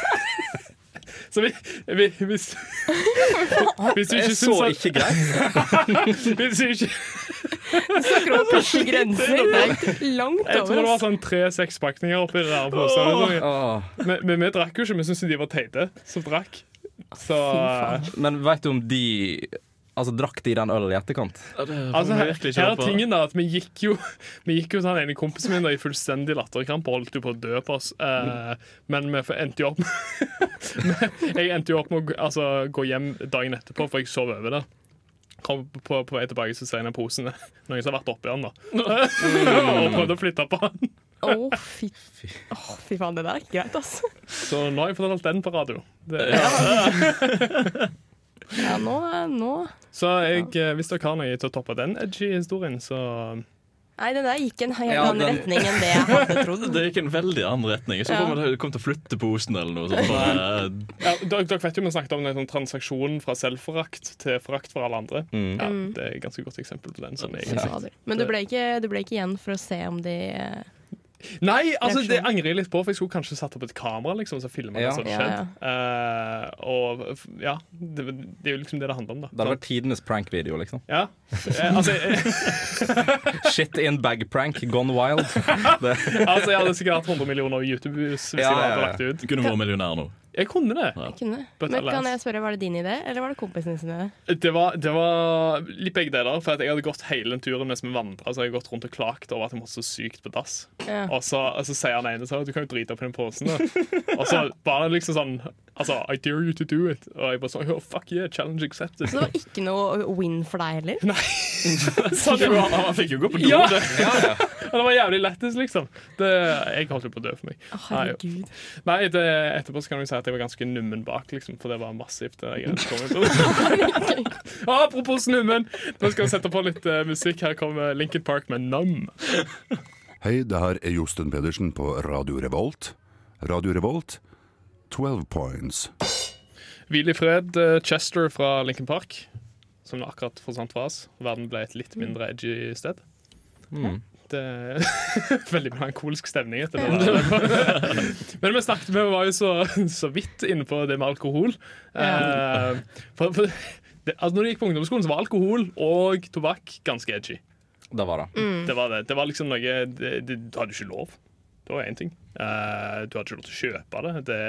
[SPEAKER 2] Så vi, vi, hvis, hvis du ikke
[SPEAKER 5] Jeg så
[SPEAKER 2] syns
[SPEAKER 5] ikke greit.
[SPEAKER 2] at hvis du ikke,
[SPEAKER 4] Snakker om å pushe grenser. Det er langt
[SPEAKER 2] Jeg tror
[SPEAKER 4] over.
[SPEAKER 2] det var
[SPEAKER 4] ass.
[SPEAKER 2] sånn tre-seks pakninger oppi det der. påstanden.
[SPEAKER 5] Åh.
[SPEAKER 2] Men, men vi drakk jo ikke. Vi syntes jo de var teite som drakk. Så eh,
[SPEAKER 5] Men veit du om de Altså, drakk de den ølen i etterkant?
[SPEAKER 2] altså, her,
[SPEAKER 3] virkelig ikke
[SPEAKER 2] her er
[SPEAKER 3] håpe.
[SPEAKER 2] tingen da at vi gikk jo Vi gikk jo sånn ene kompisen min da, i fullstendig latterkrampe og holdt jo på å dø på oss. Eh, men vi endte jo opp Men Jeg endte jo opp med å gå- altså, gå hjem dagen etterpå, for jeg sov over der. Kom på, på vei tilbake så ser jeg ned posen. Noen som har vært oppi den, da. og prøvde å flytte på den.
[SPEAKER 4] Å, fy, Å, fy faen, det der er ikke greit, ass.
[SPEAKER 2] Så nå har jeg fortalt den på radio. Det,
[SPEAKER 4] Ja, nå, nå.
[SPEAKER 2] Så jeg, eh, hvis dere har noe til å toppe den edgy historien, så
[SPEAKER 4] Nei, det der gikk en helt
[SPEAKER 5] Ja,
[SPEAKER 4] annen
[SPEAKER 5] den-
[SPEAKER 4] retning enn det jeg hadde trodd.
[SPEAKER 3] det gikk en veldig annen retning. Jeg så for meg det kom til å flytte posen eller noe sånt. Bare, eh,
[SPEAKER 2] ja, dere, dere vet jo vi snakket om en sånn transaksjon fra selvforakt til forakt for alle
[SPEAKER 5] Mm.
[SPEAKER 2] andre. Ja,
[SPEAKER 4] Mm.
[SPEAKER 2] det er et ganske godt eksempel på den. Sånn, egentlig.
[SPEAKER 4] Fader. Men du ble, ikke, du ble ikke igjen for å se om de eh,
[SPEAKER 2] Nei, altså det angrer jeg litt på, for jeg skulle kanskje satt opp et kamera liksom, så filmer
[SPEAKER 5] Ja.
[SPEAKER 2] det som
[SPEAKER 4] Ja,
[SPEAKER 2] skjedde. Eh, og f- ja, det, det er jo liksom det det handler om, da.
[SPEAKER 5] Det hadde vært tidenes prank-video, liksom.
[SPEAKER 2] Ja. Eh, altså, jeg,
[SPEAKER 5] Shit in bag-prank, gone wild.
[SPEAKER 2] altså, jeg hadde sikkert hatt 100 millioner YouTube-views hvis
[SPEAKER 5] Ja,
[SPEAKER 2] jeg hadde
[SPEAKER 5] ja, ja.
[SPEAKER 2] lagt det ut.
[SPEAKER 3] kunne vært millionær nå.
[SPEAKER 2] Jeg kunne det.
[SPEAKER 3] Ja.
[SPEAKER 4] Kunne.
[SPEAKER 2] But
[SPEAKER 4] Men kan
[SPEAKER 2] alas.
[SPEAKER 4] jeg spørre, var det din idé, eller var det kompisen sin idé?
[SPEAKER 2] Det var, det var litt begge deler. For at jeg hadde gått hele den turen mens vi vandra, så hadde jeg gått rundt og klagt over at jeg måtte så sykt på dass.
[SPEAKER 4] Ja.
[SPEAKER 2] Og så, og så sier han ene sånn Du kan jo drite opp i den posen, da. og så var det liksom sånn Altså, I dare you to do it. Og jeg bare sånn oh, Fuck yeah, challenge accepted.
[SPEAKER 4] Så det var ikke noe win for deg heller?
[SPEAKER 2] Sånn, det, var,
[SPEAKER 3] Han fikk jo gå på do.
[SPEAKER 2] ja,
[SPEAKER 3] det.
[SPEAKER 2] og det var jævlig lættis, liksom. Det, jeg holdt jo på å dø for meg.
[SPEAKER 4] Å, herregud.
[SPEAKER 2] Nei, det, etterpå så kan jeg si at jeg var ganske nummen bak, liksom, for det var massivt. Det jeg kom ut. Apropos nummen, nå skal vi sette på litt eh, musikk. Her kommer Linkin Park med Numb.
[SPEAKER 10] Hei, det her er Josten Pedersen på Radio Revolt. Radio Revolt, 12 points.
[SPEAKER 2] Hvil i fred, eh, Chester fra Linkin Park, som akkurat forsvant fra oss. Verden ble et litt mindre edgy sted. Det er Veldig melankolsk stemning etter det. der. Men vi snakket vi var jo så, så vidt inne på det med alkohol. Eh, For, for det, altså når du gikk på ungdomsskolen, så var alkohol og tobakk ganske edgy.
[SPEAKER 5] Det var det.
[SPEAKER 2] Det var det. Det var liksom noe det, det, Du hadde ikke lov. Det var én ting. Eh, du hadde ikke lov til å kjøpe det. det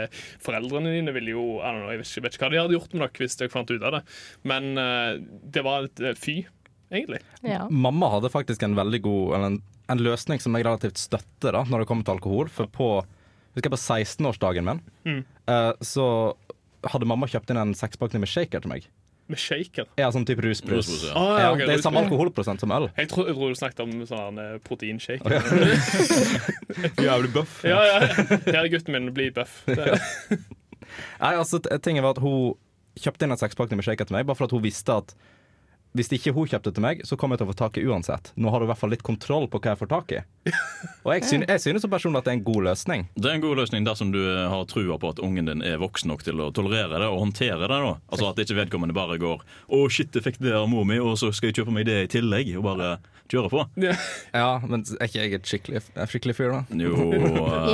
[SPEAKER 2] foreldrene dine ville jo I don't know, jeg vet, ikke, vet ikke hva de hadde gjort med dere hvis dere fant ut av det, men eh, det var et eh, fy, egentlig.
[SPEAKER 4] Ja.
[SPEAKER 5] Mamma hadde faktisk en veldig god eller en, en løsning som jeg relativt støtter da, når det kommer til alkohol. For på, husker jeg på 16-årsdagen min, eh, så hadde mamma kjøpt inn en sekspakning med shaker til meg.
[SPEAKER 2] Med shaker.
[SPEAKER 5] Ja, sånn type rusbrus.
[SPEAKER 3] Rusbrus, ja.
[SPEAKER 2] Ah,
[SPEAKER 5] ja,
[SPEAKER 2] ok,
[SPEAKER 5] det er samme
[SPEAKER 2] rusbrus.
[SPEAKER 5] alkoholprosent som øl.
[SPEAKER 2] Jeg tror, jeg tror du snakket om sånn eh, proteinshaker.
[SPEAKER 5] Jævlig bøff.
[SPEAKER 2] Ja, ja. Det er gutten min blir bøff. Det,
[SPEAKER 5] Nei, altså, t- tingen var at hun kjøpte inn en sekspakning med shaker til meg, bare for at hun visste at hvis ikke hun kjøpte til meg, så kommer jeg til å få tak i uansett. Nå har du i hvert fall litt kontroll på hva jeg får tak i. Og jeg synes, jeg synes som personlig at det er en god løsning.
[SPEAKER 3] Det er en god løsning dersom du eh, har trua på at ungen din er voksen nok til å tolerere det og håndtere det. da Altså At ikke vedkommende bare går 'Å, shit, jeg fikk det av mor mi, og så skal jeg kjøpe meg det i tillegg.' Og bare kjøre på.
[SPEAKER 5] Ja, men er ikke jeg et skikkelig, en skikkelig fyr, da?
[SPEAKER 3] Jo, eh,
[SPEAKER 4] Gikk det bra, da?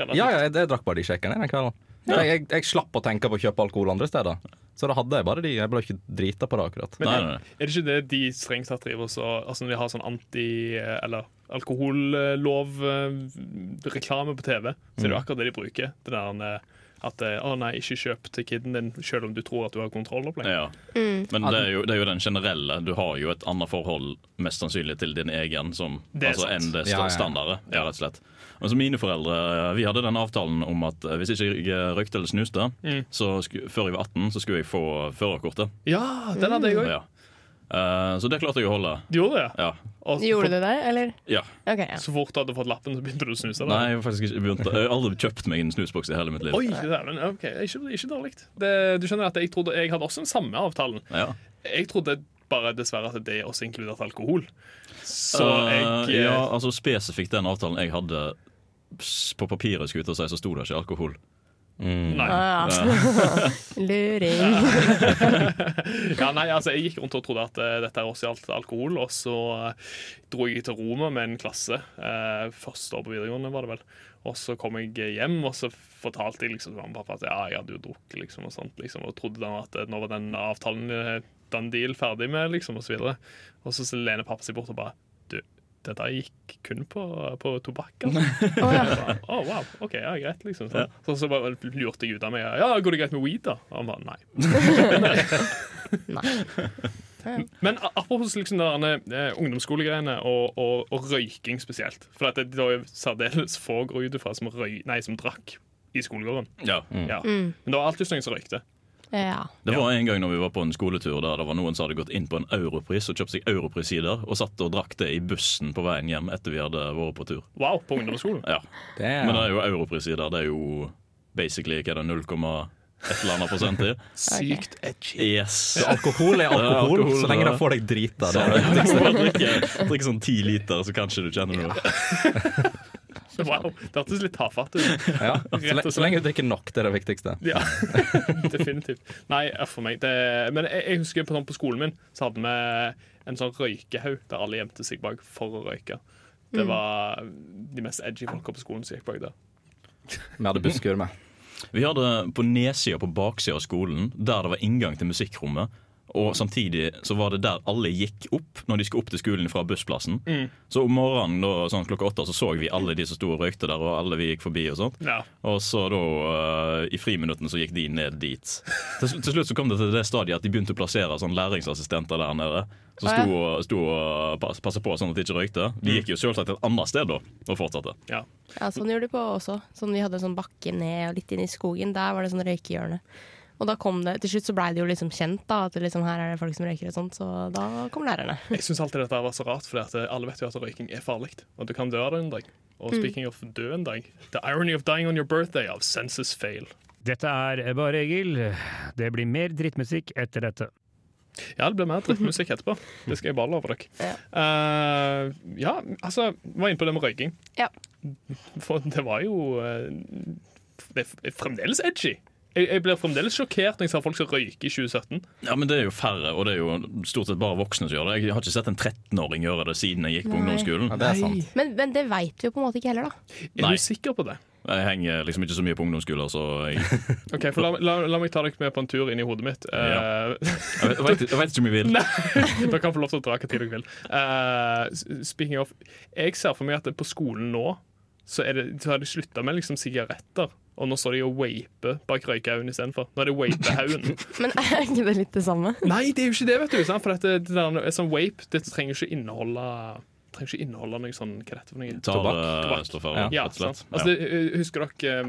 [SPEAKER 3] kanskje.
[SPEAKER 5] Ja, ja, jeg, jeg drakk bare de shakerne den kvelden. Jeg, jeg, jeg slapp å tenke på å kjøpe alkohol andre steder. Så da hadde jeg bare de. Jeg ble ikke drita på det, akkurat.
[SPEAKER 3] Nei, nei, nei.
[SPEAKER 2] Er det ikke det de strengt tatt driver så, altså når de har sånn anti- eller alkohollov-reklame på TV? Så
[SPEAKER 3] Mm.
[SPEAKER 2] er det jo akkurat det de bruker. Det der eh, at eh, 'Å nei, ikke kjøp til kiden din selv om du tror at du har kontroll'. opplegg.
[SPEAKER 3] Ja. Men det er, jo, det er jo den generelle. Du har jo et annet forhold mest sannsynlig til din egen som,
[SPEAKER 2] Det er
[SPEAKER 3] altså,
[SPEAKER 2] sant.
[SPEAKER 3] enn det sta-
[SPEAKER 5] Ja, ja, ja.
[SPEAKER 3] standardet. Ja, rett og slett. Altså, mine foreldre vi hadde den avtalen om at eh, hvis ikke jeg røykte eller snuste,
[SPEAKER 2] Mm.
[SPEAKER 3] så sku, før jeg var 18, så skulle jeg få eh, førerkortet.
[SPEAKER 2] Ja, den hadde jeg òg.
[SPEAKER 3] Ja. Eh, så det klarte jeg å holde.
[SPEAKER 2] Du gjorde det? ja.
[SPEAKER 3] Ja.
[SPEAKER 2] Og så
[SPEAKER 4] Gjorde
[SPEAKER 2] fort-
[SPEAKER 4] du det, eller?
[SPEAKER 3] ja.
[SPEAKER 4] Ok, ja.
[SPEAKER 2] Så fort du hadde fått lappen, så begynte du å snuse? da?
[SPEAKER 3] Nei, jeg har faktisk ikke begynt. Jeg har aldri kjøpt meg en snusboks i hele mitt liv.
[SPEAKER 2] Oi, det der, men ok, Ikke, ikke dårlig. Det, du skjønner at jeg trodde Jeg hadde også den samme avtalen.
[SPEAKER 3] Ja.
[SPEAKER 2] Jeg trodde bare dessverre at det også inkluderte alkohol. Så
[SPEAKER 3] Eh,
[SPEAKER 2] jeg eh,
[SPEAKER 3] ja, altså Spesifikt den avtalen jeg hadde s- på papiret, skulle jeg til å si, så sto det ikke alkohol.
[SPEAKER 2] Nei.
[SPEAKER 4] Ah, ja. Luring.
[SPEAKER 2] Ja, nei, altså Jeg gikk rundt og trodde at eh, dette her også gjaldt alkohol, og så eh, dro jeg til Roma med en klasse. eh, første år på videregående, var det vel. Og så kom jeg hjem, og så fortalte jeg liksom til mamma og pappa at ja, jeg hadde jo drukket, liksom, og sånt, liksom, og trodde da at eh, nå var den avtalen eh, den deal ferdig med, liksom, og så videre. Og så, så lener pappa seg bort og bare Du, dette gikk kun på, på tobakk, altså.
[SPEAKER 4] Å, ja.
[SPEAKER 2] Å, wow, ok, ja, greit, liksom. sånn. Så, så bare lurte jeg ut av meg. Ja, går det greit med weed, da? Og han bare nei.
[SPEAKER 4] Nei.
[SPEAKER 2] Men a- apropos liksom der, eh, ungdomsskolegreiene og, og, og røyking spesielt. For at det det var jo særdeles få går ut ifra som, røy, nei, som drakk i skolegården.
[SPEAKER 3] Ja.
[SPEAKER 2] Ja. Men det var alltid noen som røykte.
[SPEAKER 4] Ja.
[SPEAKER 3] Det var en gang når vi var på en skoletur der det var noen som hadde gått inn på en Europris og kjøpt seg Europris-sider, og satt og drakk det i bussen på veien hjem etter vi hadde vært på tur.
[SPEAKER 2] Wow, på ungdomsskolen.
[SPEAKER 3] Ja. Men det er jo Europris-sider. Det er jo basically hva er det 0, et eller annet prosent i.
[SPEAKER 2] Sykt edgy.
[SPEAKER 3] Yes.
[SPEAKER 5] Alkohol er
[SPEAKER 3] Ja,
[SPEAKER 5] alkohol,
[SPEAKER 3] alkohol,
[SPEAKER 5] så lenge
[SPEAKER 3] ja.
[SPEAKER 5] det får deg drita.
[SPEAKER 3] Så
[SPEAKER 5] Det.
[SPEAKER 3] det er det viktigste. drikke, drikke sånn ti liter, så kanskje du kjenner noe.
[SPEAKER 2] Wow, Det hørtes litt tafatt ut.
[SPEAKER 5] Ja. Så,
[SPEAKER 2] Rett og
[SPEAKER 5] le- så lenge du drikker nok, det er det viktigste.
[SPEAKER 2] Ja, Definitivt. Nei, eh, for meg det, Men jeg, jeg husker på, sånn på skolen min så hadde vi en sånn røykehaug der alle gjemte seg bak for å røyke. Det var de mest edgy folka på skolen som gikk bak der.
[SPEAKER 5] Vi hadde busskur med.
[SPEAKER 3] Vi hadde på nedsida på baksida av skolen, der det var inngang til musikkrommet, Og samtidig så var det der alle gikk opp når de skulle opp til skolen fra bussplassen.
[SPEAKER 4] Mm.
[SPEAKER 3] Så om morgenen da, sånn klokka åtte så så vi alle de som sto og røykte der, og alle vi gikk forbi og sånt.
[SPEAKER 2] Ja.
[SPEAKER 3] Og så da, eh, i friminutten så gikk de ned dit. Til, sl- til slutt så kom det til det stadiet at de begynte å plassere sånn læringsassistenter der nede.
[SPEAKER 4] Å,
[SPEAKER 3] Som
[SPEAKER 4] ja. Mm.
[SPEAKER 3] sto og, sto og pass, passet på sånn at de ikke røykte. De gikk jo selvsagt et annet sted da, og fortsatte.
[SPEAKER 2] Ja.
[SPEAKER 4] Ja, sånn gjorde de på også. Sånn, vi hadde sånn bakke ned og litt inn i skogen. Der var det sånn røykehjørne. Og da kom det, til slutt så blei det jo liksom kjent da, at det liksom, her er det folk som røyker og sånt, så da kom lærerne.
[SPEAKER 2] Jeg syns alltid dette var så rart, for alle vet jo at røyking er farlig. Og du kan dø av det en dag. Og speaking of dø en dag The irony of dying on your birthday av senses fail.
[SPEAKER 11] Dette er Bare Egil. Det blir mer drittmusikk etter dette.
[SPEAKER 2] Ja, det blir mer drittmusikk etterpå. Det skal jeg bare love dere. Eh, ja, altså Vi var inne på det med røyking.
[SPEAKER 4] Ja.
[SPEAKER 2] For det var jo eh, Det er fremdeles edgy. Jeg, jeg blir fremdeles sjokkert når jeg ser folk som røyker i 2017.
[SPEAKER 3] Ja, men Det er jo færre, og det er jo stort sett bare voksne som gjør det. Jeg har ikke sett en 13-åring gjøre det siden jeg gikk på
[SPEAKER 4] Nei.
[SPEAKER 3] ungdomsskolen.
[SPEAKER 5] Ja, det er sant.
[SPEAKER 4] Men, men det veit vi jo på en måte ikke heller, da.
[SPEAKER 2] Er
[SPEAKER 3] Nei.
[SPEAKER 2] du sikker på det?
[SPEAKER 3] Jeg henger liksom ikke så mye på ungdomsskolen, så jeg, jeg,
[SPEAKER 2] Ok, for La, la, la meg ta dere med på en tur inn i hodet mitt. Eh,
[SPEAKER 3] vet, jeg, vet, jeg vet ikke om jeg vil.
[SPEAKER 2] Dere kan få lov til å dra hva tid dere vil. Eh, s- speaking of, Jeg ser for meg at det på skolen nå så, er det, så har de slutta med liksom sigaretter. Og nå står de og vaper bak røykehaugen istedenfor. Nå er det vapehaugen.
[SPEAKER 4] Men er ikke det litt det samme?
[SPEAKER 2] Nei, det er jo ikke det, vet du. Sant? For dette, det der, sånn vape det trenger ikke inneholde trenger ikke inneholde noe sånn Hva er dette for noe?
[SPEAKER 3] Tar,
[SPEAKER 2] Tobakk.
[SPEAKER 3] eh, står for,
[SPEAKER 2] Ja,
[SPEAKER 3] rett og slett.
[SPEAKER 2] sant. Altså, det, eh, husker dere eh,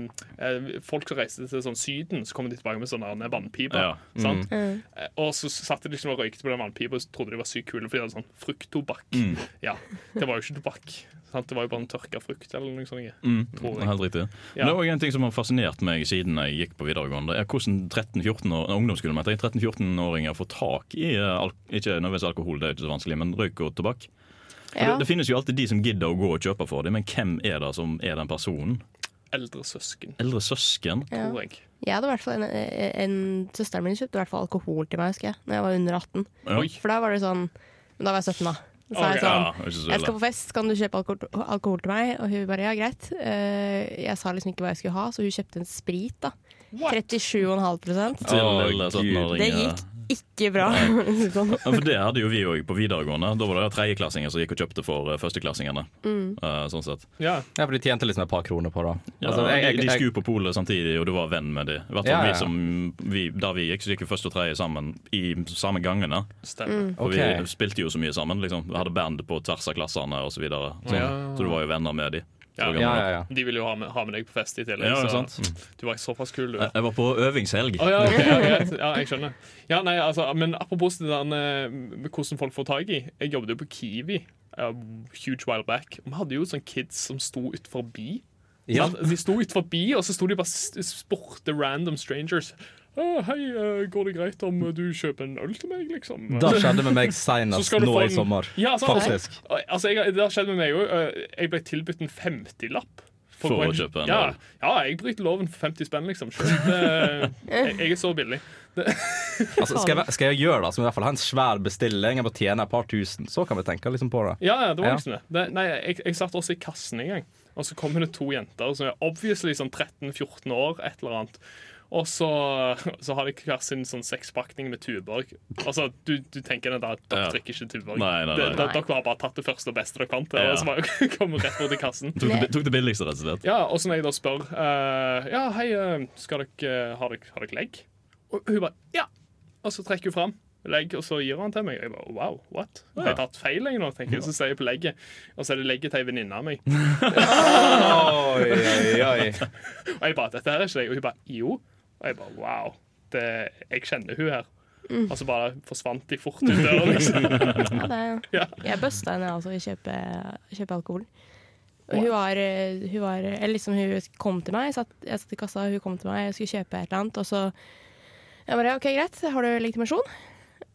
[SPEAKER 2] eh, folk som reiste til sånn Syden, så kom de tilbake med sånne der vannpiper?
[SPEAKER 3] Ja. mm.
[SPEAKER 2] Sant? Eh, Og så satt de liksom og røykte på den vannpipa og så trodde de var sykt kule, for de hadde sånn frukttobakk.
[SPEAKER 3] Mm.
[SPEAKER 2] Ja, det var jo ikke tobakk. Sant? Det var jo bare en tørka frukt eller noe sånt.
[SPEAKER 3] Mm,
[SPEAKER 2] Tror jeg.
[SPEAKER 3] helt riktig.
[SPEAKER 2] Ja.
[SPEAKER 3] Det er også en ting som har fascinert meg siden jeg gikk på videregående. er Hvordan 13-14 år- nei, ungdomsskolen, mente jeg, 13-14-åringer får tak i eh, al ikke nødvendigvis alkohol, det er ikke så vanskelig, men røyk og tobakk. Og
[SPEAKER 4] Ja.
[SPEAKER 3] Det, det finnes jo alltid de som gidder å gå og kjøpe for dem, men hvem er det som er den personen?
[SPEAKER 2] Eldre søsken,
[SPEAKER 3] Eldre søsken?
[SPEAKER 4] Ja.
[SPEAKER 2] tror jeg.
[SPEAKER 4] Jeg hadde i hvert fall en, en Søsteren min kjøpte i hvert fall alkohol til meg, husker jeg, Når jeg var under 18.
[SPEAKER 3] Ja.
[SPEAKER 2] Oi.
[SPEAKER 4] For da var det sånn Men da var jeg 17, da. Så er
[SPEAKER 2] Ok.
[SPEAKER 4] jeg sånn
[SPEAKER 3] Ja, ikke så
[SPEAKER 4] Jeg
[SPEAKER 3] ille.
[SPEAKER 4] skal på fest, kan du kjøpe alkohol, alkohol til meg? Og hun bare ja, greit. Eh, jeg sa liksom ikke hva jeg skulle ha, så hun kjøpte en sprit, da. 37,5
[SPEAKER 3] til
[SPEAKER 5] Å,
[SPEAKER 3] lille
[SPEAKER 5] Gud.
[SPEAKER 3] 17-åringer.
[SPEAKER 4] Det gikk ikke bra. sånn.
[SPEAKER 3] Ja, for Det hadde jo vi òg på videregående. Da var det tredjeklassinger som gikk og kjøpte for eh, førsteklassingene.
[SPEAKER 5] Mm.
[SPEAKER 3] Eh, sånn sett.
[SPEAKER 2] Ja,
[SPEAKER 5] Ja, for de tjente liksom et par kroner på det.
[SPEAKER 3] Ja,
[SPEAKER 5] Altså, jeg-
[SPEAKER 3] de
[SPEAKER 5] jeg-
[SPEAKER 3] de
[SPEAKER 5] jeg-
[SPEAKER 3] skulle på polet samtidig, og du var venn med dem. Ja,
[SPEAKER 5] Ja, ja, ja.
[SPEAKER 3] Vi som, vi, da vi gikk, så gikk jo første og tredje sammen i samme gangene.
[SPEAKER 2] stemmer.
[SPEAKER 3] For
[SPEAKER 5] Ok.
[SPEAKER 3] vi spilte jo så mye sammen. Liksom. Vi hadde band på tvers av klassene osv. Så, videre. så,
[SPEAKER 2] Ja.
[SPEAKER 3] så du var jo venner med dem.
[SPEAKER 2] Ja.
[SPEAKER 5] Ja, ja, ja.
[SPEAKER 2] De ville jo ha med, ha med deg på fest i tillegg,
[SPEAKER 3] Ja,
[SPEAKER 2] så
[SPEAKER 3] sant? Mm.
[SPEAKER 2] du var såpass kul, du.
[SPEAKER 3] Jeg var på øvingshelg.
[SPEAKER 2] Å ja, ok, ja, greit. Ja, jeg skjønner. Ja, nei, altså, men apropos det der eh, med hvordan folk får tak i. Jeg jobbet jo på Kiwi. eh, huge while back. Vi hadde jo sånne kids som sto ut forbi.
[SPEAKER 5] Ja.
[SPEAKER 2] Sant? De sto ut forbi, og så sto de bare s- spurte random strangers. Å, hei, eh, går det greit om du kjøper en øl til meg, liksom?
[SPEAKER 5] Det skjedde med meg
[SPEAKER 2] Så
[SPEAKER 5] seinest
[SPEAKER 2] skal du
[SPEAKER 5] nå
[SPEAKER 2] få
[SPEAKER 5] i
[SPEAKER 2] en-
[SPEAKER 5] sommer.
[SPEAKER 2] Ja, sant?
[SPEAKER 5] Faktisk.
[SPEAKER 2] Altså, jeg, det har skjedd med meg òg. Jeg ble tilbudt en 50-lapp.
[SPEAKER 3] For å
[SPEAKER 2] gå inn-
[SPEAKER 3] kjøpe en
[SPEAKER 2] ja,
[SPEAKER 3] øl.
[SPEAKER 2] ja, jeg bryter loven for 50 spenn, liksom. Selv, eh, jeg, jeg er så billig.
[SPEAKER 5] Altså, skal, jeg, skal jeg gjøre det, så må jeg i hvert fall ha en svær bestilling. Jeg må tjene et par tusen. Så kan vi tenke liksom på det.
[SPEAKER 2] Ja, ja, det var
[SPEAKER 5] Ja.
[SPEAKER 2] liksom det. det nei, jeg, jeg satt også i kassen en gang, og så kom det to jenter som er obviously sånn 13-14 år, et eller annet. Og så, så har de hver sin sånn sekspakning med Tuborg. Altså, du, du tenker det da, at dere
[SPEAKER 3] Ja.
[SPEAKER 2] drikker ikke Tuborg.
[SPEAKER 3] Nei, nei, nei.
[SPEAKER 2] Det- det- Dere har bare tatt det første og beste dere fant,
[SPEAKER 3] Ja.
[SPEAKER 2] og så bare kom rett bort i kassen.
[SPEAKER 3] Tok, det, tok det billigste, rett og slett.
[SPEAKER 2] Ja, og så når jeg da spør eh, Ja, hei, eh, skal dere, har, dere, har dere legg? Og hun bare ja. Og så trekker hun fram legg, og så gir han til meg. Og jeg bare wow, what? Har jeg tatt feil jeg nå? tenker jeg. Så sier jeg på legget, og så er det legget til ei venninne av meg.
[SPEAKER 5] Oi, oi, oi.
[SPEAKER 2] Og jeg bare dette her er ikke deg. Og hun bare jo. Og jeg bare wow. Det, jeg kjenner hun her. Og så bare forsvant de fort ut døra, liksom.
[SPEAKER 4] Ja, det,
[SPEAKER 2] Ja.
[SPEAKER 4] jeg busta henne altså i å kjøpe, kjøpe alkohol. Og hun var, eh, hun var Eller liksom hun kom til meg, jeg satt, jeg satt i kassa, hun kom til meg, jeg skulle kjøpe et eller annet, og så Jeg bare OK, greit, har du legitimasjon?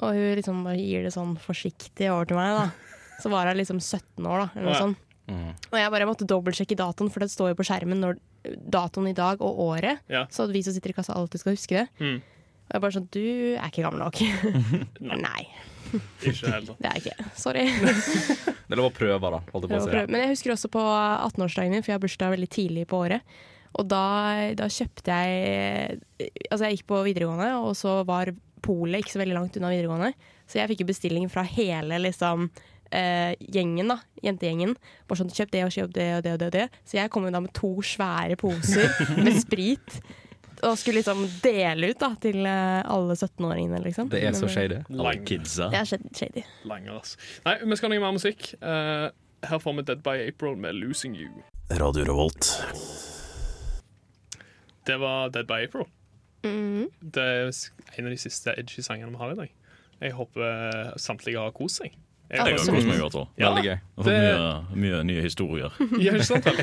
[SPEAKER 4] Og hun liksom bare gir det sånn forsiktig over til meg, da. Så var hun liksom 17 år, da, eller noe
[SPEAKER 2] Ja. Mm.
[SPEAKER 4] sånt. Og jeg bare måtte dobbeltsjekke datoen, for det står jo på skjermen når, datoen i dag og året.
[SPEAKER 2] Ja.
[SPEAKER 4] Så at vi som sitter i kassa alltid skal huske det.
[SPEAKER 2] Mm.
[SPEAKER 4] Og jeg bare sånn Du er ikke gammel nok. Nei,
[SPEAKER 2] Ikke heller.
[SPEAKER 4] det er jeg ikke. Sorry.
[SPEAKER 5] Det er lov å prøve, da. Holdt jeg på å
[SPEAKER 4] Prøve å
[SPEAKER 5] si.
[SPEAKER 4] prøve. Men jeg husker også på 18-årsdagen min, for jeg har bursdag veldig tidlig på året. Og da, da kjøpte jeg Altså, jeg gikk på videregående, og så var polet ikke så veldig langt unna videregående. Så jeg fikk jo bestilling fra hele liksom, eh, gjengen, da, jentegjengen. Bare sånn, kjøp det og kjøp det og det og det. Og det. Så jeg kom jo da med to svære poser med sprit. Og skulle liksom dele ut da, til eh, alle 17-åringene. Liksom.
[SPEAKER 5] Det er så
[SPEAKER 4] Men, eh,
[SPEAKER 5] shady.
[SPEAKER 2] Alle kidsa.
[SPEAKER 4] Det er shady- shady.
[SPEAKER 2] Langer, ass. Nei, vi skal ha noe mer musikk. Eh, her får vi Dead by April med 'Losing You'.
[SPEAKER 12] Radio Revolt.
[SPEAKER 2] Det var Dead by April.
[SPEAKER 4] Mhm.
[SPEAKER 2] Det er s- en av de siste edgy sangene vi har i dag. Jeg håper eh, samtlige har kost seg.
[SPEAKER 3] Jeg har kost meg godt òg.
[SPEAKER 2] Ja,
[SPEAKER 3] Fått mye,
[SPEAKER 2] det-
[SPEAKER 3] mye nye historier.
[SPEAKER 2] Ja, ikke sant? vel?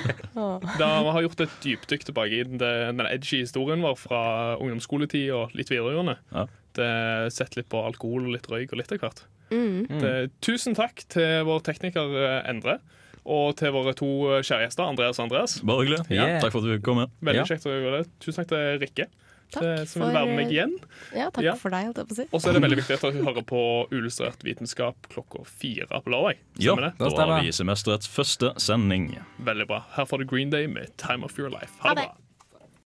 [SPEAKER 2] Da vi har gjort et dypdykk tilbake i den, den edgy historien vår fra ungdomsskoletid og litt videregående.
[SPEAKER 3] Ja.
[SPEAKER 2] Det Sett litt på alkohol og litt røyk og litt av hvert.
[SPEAKER 3] Mm.
[SPEAKER 2] Det, tusen takk til vår tekniker eh, Endre, og til våre to eh, kjære gjester, Andreas og Andreas.
[SPEAKER 3] Bare hyggelig.
[SPEAKER 2] Ja.
[SPEAKER 3] Takk for at du kom. med.
[SPEAKER 2] Veldig
[SPEAKER 3] Ja.
[SPEAKER 2] kjekt å gjøre det. Tusen takk til Rikke, til- som vil
[SPEAKER 4] for,
[SPEAKER 2] være med meg
[SPEAKER 4] eh,
[SPEAKER 2] igjen.
[SPEAKER 4] Ja, takk
[SPEAKER 2] Ja.
[SPEAKER 4] for deg, holdt jeg på å si.
[SPEAKER 2] Og så er det veldig viktig at dere hører på Uillustrert vitenskap klokka fire på lørdag.
[SPEAKER 3] Ja,
[SPEAKER 2] Stemmer
[SPEAKER 3] da har vi semesterets første sending.
[SPEAKER 2] Veldig bra. Her får du Green Day med Time of Your Life. Ha det bra.